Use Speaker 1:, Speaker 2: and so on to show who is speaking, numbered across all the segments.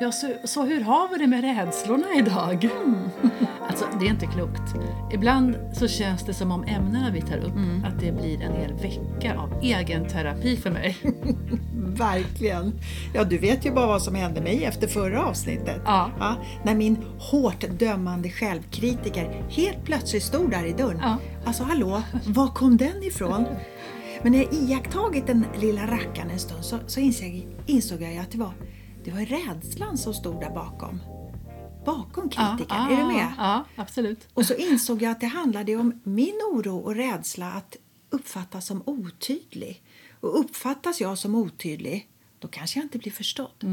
Speaker 1: Ja, så, så hur har vi det med rädslorna idag? Alltså, det är inte klokt. Ibland så känns det som om ämnena vi tar upp, att det blir en hel vecka av egen terapi för mig.
Speaker 2: Verkligen. Ja, du vet ju bara vad som hände mig efter förra avsnittet.
Speaker 1: Ja.
Speaker 2: när min hårt dömande självkritiker helt plötsligt stod där i dörren.
Speaker 1: Ja.
Speaker 2: Alltså hallå, var kom den ifrån? Men när jag iakttagit den lilla rackaren en stund så, så insåg, insåg jag ju att det var, det var rädslan som stod där bakom. Bakom kritikern,
Speaker 1: ah,
Speaker 2: är du med?
Speaker 1: Ja, absolut.
Speaker 2: Och så insåg jag att det handlade om min oro och rädsla att uppfattas som otydlig. Och uppfattas jag som otydlig, då kanske jag inte blir förstådd.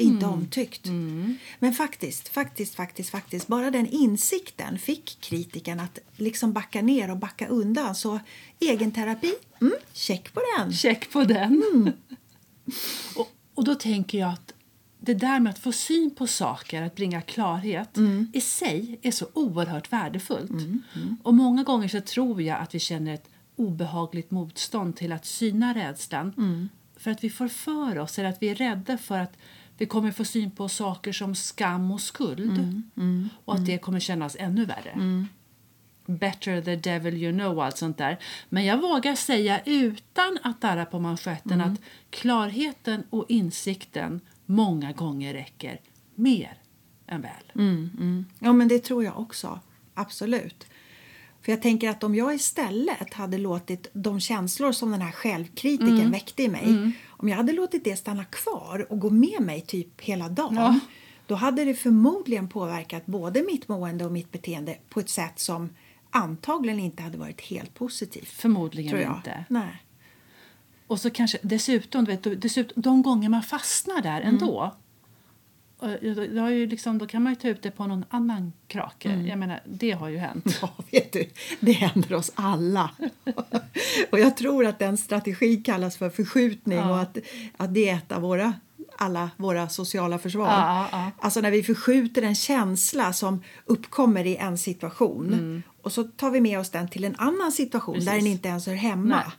Speaker 2: Inte omtyckt. Men faktiskt, faktiskt, faktiskt, faktiskt, bara den insikten fick kritiken att liksom backa ner och backa undan. Så egenterapi, mm, check på den.
Speaker 1: Check på den. Mm. och, och då tänker jag att det där med att få syn på saker, att bringa klarhet, i sig är så oerhört värdefullt. Och många gånger så tror jag att vi känner ett obehagligt motstånd till att syna rädslan. För att vi får för oss, eller att vi är rädda för att vi kommer få syn på saker som skam och skuld. Och att det kommer kännas ännu värre. Better the devil you know och allt sånt där. Men jag vågar säga utan att darra på manschetten
Speaker 2: Mm.
Speaker 1: att klarheten och insikten många gånger räcker mer än väl.
Speaker 2: Mm. Ja, men det tror jag också. Absolut. För jag tänker att om jag istället hade låtit de känslor som den här självkritiken
Speaker 1: Mm.
Speaker 2: väckte i mig, om jag hade låtit det stanna kvar och gå med mig typ hela dagen,
Speaker 1: Ja.
Speaker 2: då hade det förmodligen påverkat både mitt mående och mitt beteende på ett sätt som antagligen inte hade varit helt positivt.
Speaker 1: Förmodligen
Speaker 2: Tror jag.
Speaker 1: inte.
Speaker 2: Nej.
Speaker 1: Och så kanske dessutom, du vet, dessutom de gånger man fastnar där
Speaker 2: Mm.
Speaker 1: ändå. och Då, då, har ju liksom, då kan man ju ta ut det på någon annan krake.
Speaker 2: Mm.
Speaker 1: Jag menar, det har ju hänt.
Speaker 2: Ja, vet du, det händer oss alla. och jag tror att den strategi kallas för förskjutning och att, att det är ett av våra, alla våra sociala försvar.
Speaker 1: Ja, ja, ja.
Speaker 2: Alltså när vi förskjuter en känsla som uppkommer i en situation och så tar vi med oss den till en annan situation där
Speaker 1: Mm. Precis.
Speaker 2: den inte ens hör hemma.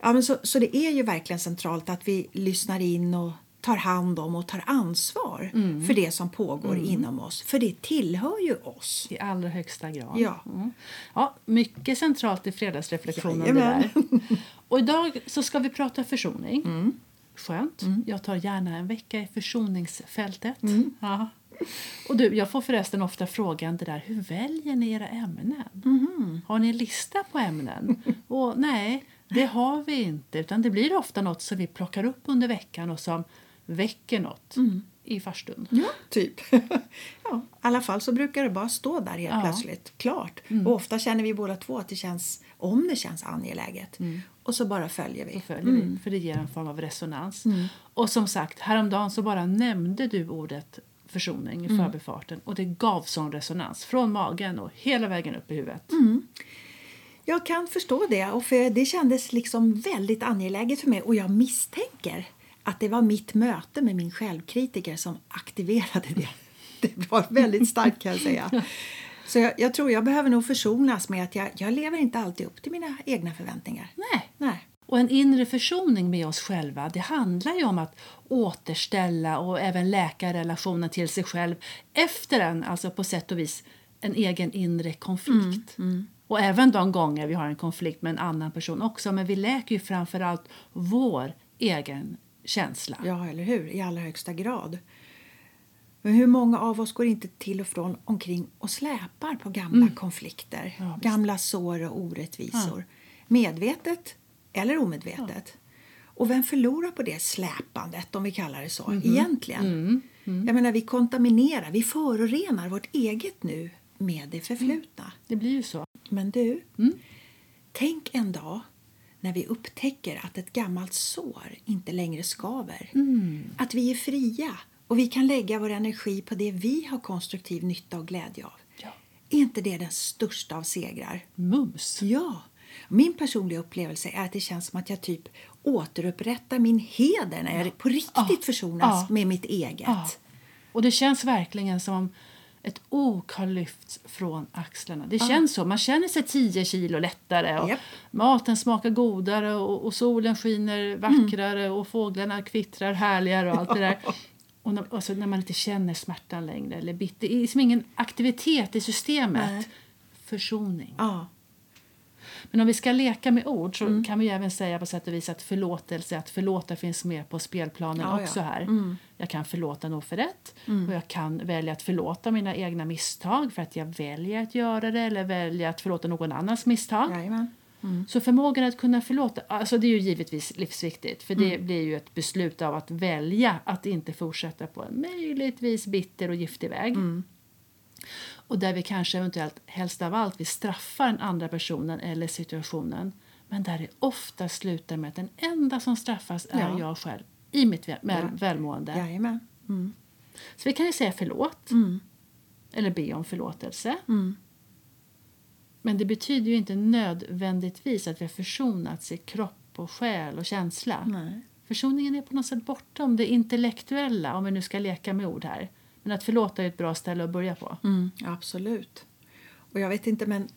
Speaker 2: Ja, men så, så det är ju verkligen centralt att vi lyssnar in och tar hand om och tar ansvar
Speaker 1: Mm.
Speaker 2: för det som pågår inom oss. För det tillhör ju oss.
Speaker 1: I allra högsta grad.
Speaker 2: Ja.
Speaker 1: Mm. ja mycket centralt i fredagsreflektionen. Det
Speaker 2: Jajamän.
Speaker 1: där. Och idag så ska vi prata försoning.
Speaker 2: Mm.
Speaker 1: Skönt. Jag tar gärna en vecka i försoningsfältet.
Speaker 2: Mm.
Speaker 1: Ja. Och du, jag får förresten ofta frågan det där, hur väljer ni era ämnen?
Speaker 2: Mm-hmm.
Speaker 1: Har ni en lista på ämnen? och nej, det har vi inte. Utan det blir ofta något som vi plockar upp under veckan och som väcker något
Speaker 2: Mm.
Speaker 1: i farstun.
Speaker 2: Ja, typ. ja, I alla fall så brukar det bara stå där helt
Speaker 1: Ja. Mm.
Speaker 2: plötsligt, klart. Och ofta känner vi båda två att det känns, om det känns angeläget. Och så bara följer vi.
Speaker 1: Mm. så följer vi, för det ger en form av resonans. Och som sagt, häromdagen så bara nämnde du ordet försoning i förbifarten och det gav sån resonans från magen och hela vägen upp i huvudet.
Speaker 2: Jag kan förstå det och för det kändes liksom väldigt angeläget för mig och jag misstänker att det var mitt möte med min självkritiker som aktiverade det. Det var väldigt starkt kan jag säga. Så jag, jag tror jag behöver nog försonas med att jag, jag lever inte alltid upp till mina egna förväntningar.
Speaker 1: Nej.
Speaker 2: Nej.
Speaker 1: Och en inre försoning med oss själva, det handlar ju om att återställa och även läka relationen till sig själv efter en, alltså på sätt och vis, en egen inre konflikt. Och även de gånger vi har en konflikt med en annan person också, men vi läker ju framförallt vår egen känsla.
Speaker 2: Ja, eller hur? I allra högsta grad. Men hur många av oss går inte till och från omkring och släpar på gamla konflikter,
Speaker 1: Mm. Ja, visst.
Speaker 2: gamla sår och orättvisor? Medvetet eller omedvetet. Och vem förlorar på det släpandet, om vi kallar det så,
Speaker 1: Mhm.
Speaker 2: egentligen?
Speaker 1: Mm.
Speaker 2: Jag menar, vi kontaminerar, vi förorenar vårt eget nu med det förflutna.
Speaker 1: Det blir ju så.
Speaker 2: Men du,
Speaker 1: Mm.
Speaker 2: tänk en dag när vi upptäcker att ett gammalt sår inte längre skaver.
Speaker 1: Mm.
Speaker 2: Att vi är fria och vi kan lägga vår energi på det vi har konstruktiv nytta och glädje av.
Speaker 1: Ja.
Speaker 2: Är inte det den största av segrar?
Speaker 1: Mums.
Speaker 2: Ja. Min personliga upplevelse är att det känns som att jag typ återupprättar min heder när jag på riktigt försonas
Speaker 1: Ja.
Speaker 2: med mitt eget.
Speaker 1: Ja. Och det känns verkligen som om ett ok har lyfts från axlarna. Det känns så. Man känner sig 10 kilo lättare. Och
Speaker 2: Japp.
Speaker 1: Maten smakar godare
Speaker 2: Mm.
Speaker 1: och, och solen skiner vackrare och fåglarna kvittrar härligare och allt det där. Och när, alltså när man inte känner smärtan längre. Eller bitter, det är liksom ingen aktivitet i systemet.
Speaker 2: Nej.
Speaker 1: Försoning.
Speaker 2: Ja.
Speaker 1: Men om vi ska leka med ord
Speaker 2: Mm.
Speaker 1: så kan vi ju även säga på sätt och vis att förlåtelse, att förlåta finns med på spelplanen
Speaker 2: Ja, Mm. ja.
Speaker 1: också här. Jag kan förlåta en oförrätt och jag kan välja att förlåta mina egna misstag för att jag väljer att göra det eller väljer att förlåta någon annans misstag.
Speaker 2: Jajamän.
Speaker 1: Så förmågan att kunna förlåta, alltså det är ju givetvis livsviktigt för det
Speaker 2: Mm.
Speaker 1: blir ju ett beslut av att välja att inte fortsätta på en möjligtvis bitter och giftig väg.
Speaker 2: Mm.
Speaker 1: Och där vi kanske eventuellt helst av allt vill straffa den andra personen eller situationen. Men där det ofta slutar med att den enda som straffas är
Speaker 2: Ja.
Speaker 1: jag själv i mitt väl-
Speaker 2: Ja.
Speaker 1: välmående.
Speaker 2: Jajamän. Mm.
Speaker 1: Så vi kan ju säga förlåt eller be om förlåtelse. Men det betyder ju inte nödvändigtvis att vi har försonats i kropp och själ och känsla.
Speaker 2: Nej.
Speaker 1: Försoningen är på något sätt bortom det intellektuella, om vi nu ska leka med ord här. Men att förlåta är ett bra ställe att börja på.
Speaker 2: Mm, absolut. Och jag vet inte, men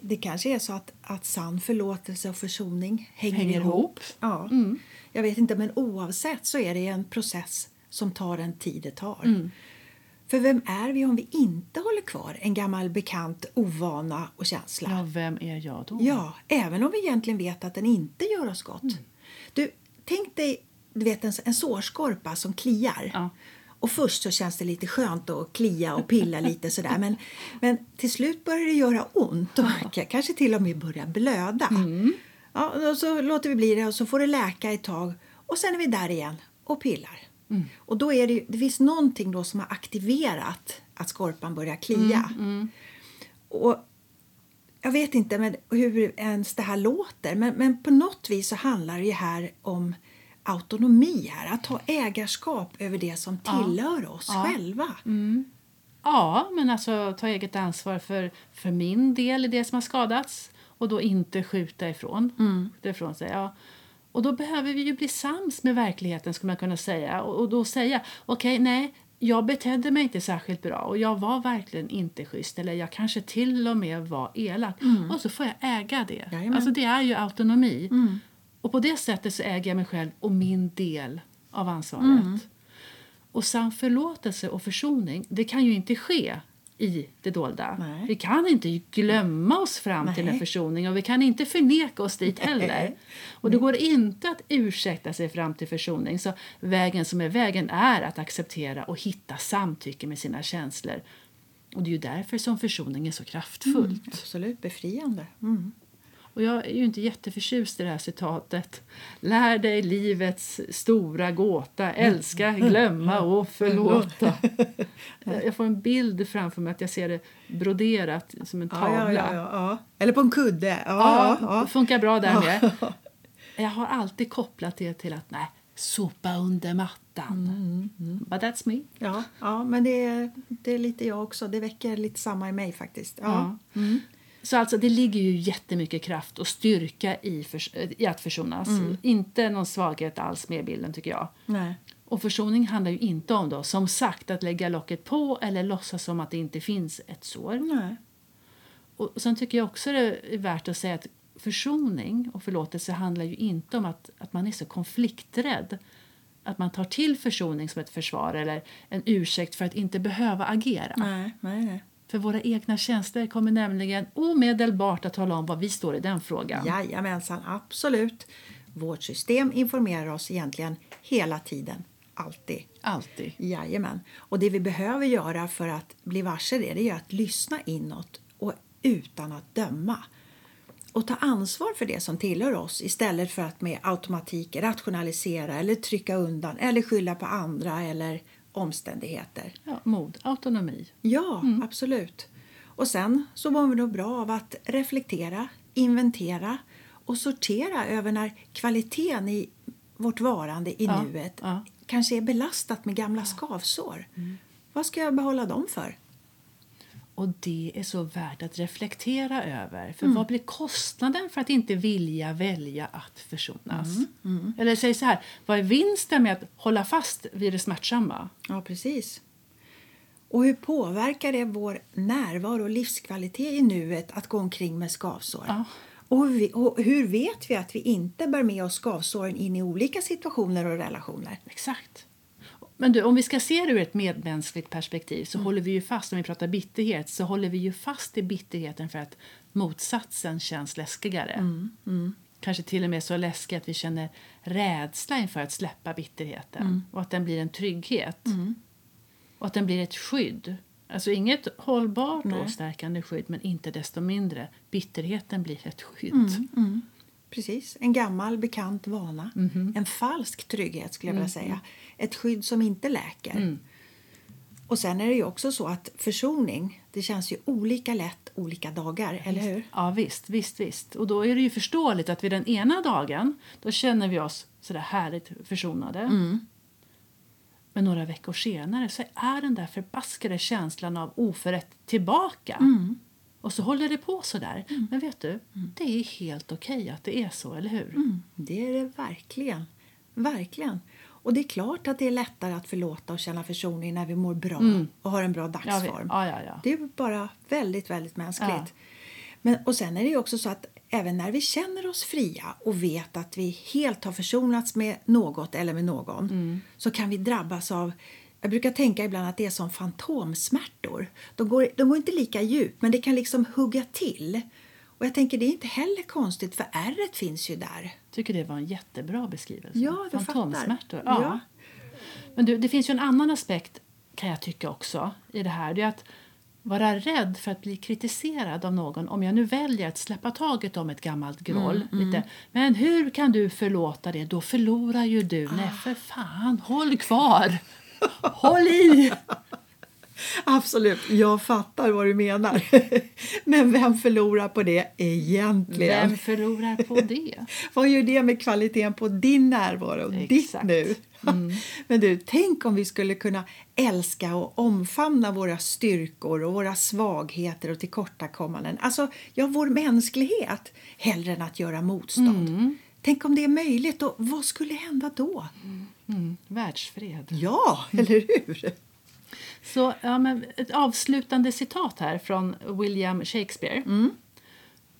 Speaker 2: det kanske är så att, att sann förlåtelse och försoning hänger,
Speaker 1: Hänger
Speaker 2: ihop.
Speaker 1: ihop. Mm.
Speaker 2: Ja. Jag vet inte, men oavsett så är det en process som tar den tid det tar.
Speaker 1: Mm.
Speaker 2: För vem är vi om vi inte håller kvar en gammal bekant ovana och känsla?
Speaker 1: Ja, vem är jag då? Mm.
Speaker 2: Ja, även om vi egentligen vet att den inte gör oss gott. Du, tänk dig du vet, en, en sårskorpa som kliar.
Speaker 1: Ja.
Speaker 2: Och Först så känns det lite skönt att klia och pilla lite sådär men, men till slut börjar det göra ont och k- kanske till och med börja blöda.
Speaker 1: Mm.
Speaker 2: Ja, och så låter vi bli det och så får det läka ett tag och sen är vi där igen och pillar.
Speaker 1: Mm.
Speaker 2: Och då är det, ju- det finns någonting då som har aktiverat att skorpan börjar klia.
Speaker 1: Mm,
Speaker 2: Och jag vet inte men hur ens det här låter, men, men på något vis så handlar det ju här om autonomi, här, att ha ägarskap över det som tillhör oss själva.
Speaker 1: Ja, men alltså ta eget ansvar för, för min del i det som har skadats och då inte skjuta ifrån. Skjuta ifrån sig, ja. Och då behöver vi ju bli sams med verkligheten skulle man kunna säga och, och då säga okej, nej, jag betedde mig inte särskilt bra och jag var verkligen inte schysst eller jag kanske till och med var elak och så får jag äga det.
Speaker 2: Jajamän.
Speaker 1: Alltså det är ju autonomi. Och på det sättet så äger jag mig själv och min del av ansvaret. Och sann förlåtelse och försoning det kan ju inte ske i det dolda.
Speaker 2: Nej.
Speaker 1: Vi kan inte glömma oss fram till
Speaker 2: Nej.
Speaker 1: en försoning och vi kan inte förneka oss dit heller. Och det går inte att ursäkta sig fram till försoning. Så vägen som är vägen är att acceptera och hitta samtycke med sina känslor. Och det är ju därför som försoning är så kraftfullt.
Speaker 2: Mm. Absolut befriande. Mm.
Speaker 1: Och jag är ju inte jätteförtjust i det här citatet. Lär dig livets stora gåta, älska,
Speaker 2: Mm.
Speaker 1: glömma och förlåta. Jag jag får en bild framför mig att jag ser det broderat som en
Speaker 2: Ja, ja,
Speaker 1: tavla.
Speaker 2: ja, ja, ja. Eller på en kudde. Ja,
Speaker 1: Ja,
Speaker 2: ja,
Speaker 1: det funkar bra där med. Jag har alltid kopplat det till att nej, sopa under mattan.
Speaker 2: Mm,
Speaker 1: But that's me.
Speaker 2: ja. ja men det är, det är lite jag också. Det väcker lite samma i mig faktiskt. Ja.
Speaker 1: Så alltså, det ligger ju jättemycket kraft och styrka i, förs- i att försonas. Inte någon svaghet alls med i bilden tycker jag.
Speaker 2: Mm. Nej.
Speaker 1: Och försoning handlar ju inte om då, som sagt att lägga locket på eller låtsas som att det inte finns ett sår.
Speaker 2: Nej.
Speaker 1: Och sen tycker jag också det är värt att säga att försoning och förlåtelse handlar ju inte om att, att man är så konflikträdd. Att man tar till försoning som ett försvar eller en ursäkt för att inte behöva agera.
Speaker 2: Nej, nej, nej.
Speaker 1: För våra egna känslor kommer nämligen omedelbart att tala om vad vi står i den frågan.
Speaker 2: Jajamensan, absolut. Vårt system informerar oss egentligen hela tiden, alltid.
Speaker 1: Alltid.
Speaker 2: Jajamän. Och det vi behöver göra för att bli varse det, det är att lyssna inåt och utan att döma. Och ta ansvar för det som tillhör oss istället för att med automatik rationalisera eller trycka undan eller skylla på andra eller omständigheter.
Speaker 1: Ja, mod, autonomi.
Speaker 2: Ja,
Speaker 1: Mm.
Speaker 2: absolut. Och sen så mår vi då bra av att reflektera, inventera och sortera över när kvaliteten i vårt varande i
Speaker 1: Ja,
Speaker 2: nuet
Speaker 1: ja. Mm.
Speaker 2: kanske är belastat med gamla skavsår. Vad ska jag behålla dem för?
Speaker 1: Och det är så värt att reflektera över. För vad blir kostnaden för att inte vilja välja att försonas? Eller säg så här, vad är vinsten med att hålla fast vid det smärtsamma?
Speaker 2: Ja, precis. Och hur påverkar det vår närvaro och livskvalitet i nuet att gå omkring med skavsår?
Speaker 1: Ja.
Speaker 2: Och, hur vi, och hur vet vi att vi inte bär med oss skavsåren in i olika situationer och relationer?
Speaker 1: Exakt. Men du, om vi ska se det ur ett medmänskligt perspektiv så håller vi ju fast, om vi pratar bitterhet, så håller vi ju fast i bitterheten för att motsatsen känns läskigare. Kanske till och med så läskig att vi känner rädsla inför att släppa bitterheten och att den blir en trygghet. Och att den blir ett skydd. Alltså inget hållbart
Speaker 2: Nej.
Speaker 1: och stärkande skydd men inte desto mindre, bitterheten blir ett skydd.
Speaker 2: Precis, en gammal bekant vana.
Speaker 1: Mhm.
Speaker 2: En falsk trygghet skulle jag vilja
Speaker 1: Mm.
Speaker 2: säga. Ett skydd som inte läker. Och sen är det ju också så att försoning, det känns ju olika lätt olika dagar, eller hur?
Speaker 1: Ja, visst, visst, visst. Och då är det ju förståeligt att vid den ena dagen då känner vi oss sådär härligt försonade.
Speaker 2: Mm.
Speaker 1: Men några veckor senare så är den där förbaskade känslan av oförrätt tillbaka.
Speaker 2: Mm.
Speaker 1: Och så håller det på så där. Men vet du, det är helt okej att det är så, eller hur?
Speaker 2: Mm, det är det verkligen. Verkligen. Och det är klart att det är lättare att förlåta och känna försoning när vi mår bra och har en bra
Speaker 1: Mm. Ja, vi-
Speaker 2: dagsform.
Speaker 1: ja, ja, ja.
Speaker 2: Det är bara väldigt, väldigt mänskligt.
Speaker 1: Ja.
Speaker 2: Men, och sen är det ju också så att även när vi känner oss fria och vet att vi helt har försonats med något eller med någon så kan vi drabbas av jag brukar tänka ibland att det är som fantomsmärtor. De går, de går inte lika djupt, men det kan liksom hugga till. Och jag tänker, det är inte heller konstigt, för ärret finns ju där.
Speaker 1: tycker det var en jättebra beskrivelse.
Speaker 2: Ja, du
Speaker 1: Fantomsmärtor.
Speaker 2: fattar.
Speaker 1: Ja.
Speaker 2: Ja.
Speaker 1: Men du, det finns ju en annan aspekt kan jag tycka också i det här. Det är att vara rädd för att bli kritiserad av någon om jag nu väljer att släppa taget om ett gammalt
Speaker 2: Mm,
Speaker 1: groll. lite. Men hur kan du förlåta det? Då förlorar ju du.
Speaker 2: Ah.
Speaker 1: Nej, för fan, håll kvar! Håll i!
Speaker 2: Absolut, jag fattar vad du menar. Men vem förlorar på det egentligen?
Speaker 1: Vem förlorar på det?
Speaker 2: Vad gör det med kvaliteten på din närvaro och ditt
Speaker 1: Exakt. Mm.
Speaker 2: nu? Men du, tänk om vi skulle kunna älska och omfamna våra styrkor och våra svagheter och tillkortakommanden. Alltså, ja, vår mänsklighet hellre än att göra motstånd. Tänk om det är möjligt och vad skulle hända då?
Speaker 1: Mm, världsfred.
Speaker 2: Ja, eller hur?
Speaker 1: Så, ja, men ett avslutande citat här från William Shakespeare.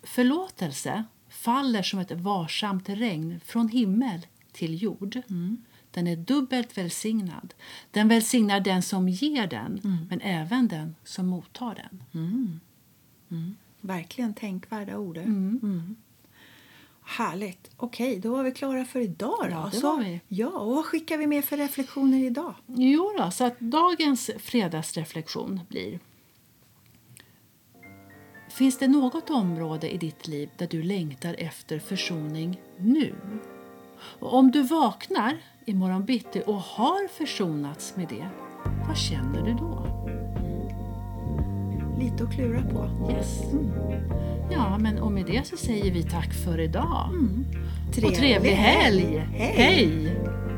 Speaker 1: Förlåtelse faller som ett varsamt regn från himmel till jord. Den är dubbelt välsignad. Den välsignar den som ger den, men även den som mottar den.
Speaker 2: Verkligen tänkvärda ord. Mm. Härligt. Okej, då var vi klara för idag. Då.
Speaker 1: Ja, det
Speaker 2: Så-
Speaker 1: var vi.
Speaker 2: Ja, och vad skickar vi med för reflektioner idag?
Speaker 1: Jo då, så att dagens fredagsreflektion blir Finns det något område i ditt liv där du längtar efter försoning nu? Och om du vaknar imorgon bitti och har försonats med det, vad känner du då?
Speaker 2: Lite att klura på.
Speaker 1: Yes. Mm. Ja, men och med det så säger vi tack för idag. Och
Speaker 2: Trevlig
Speaker 1: trevlig Mm. helg!
Speaker 2: Hej.
Speaker 1: Hej.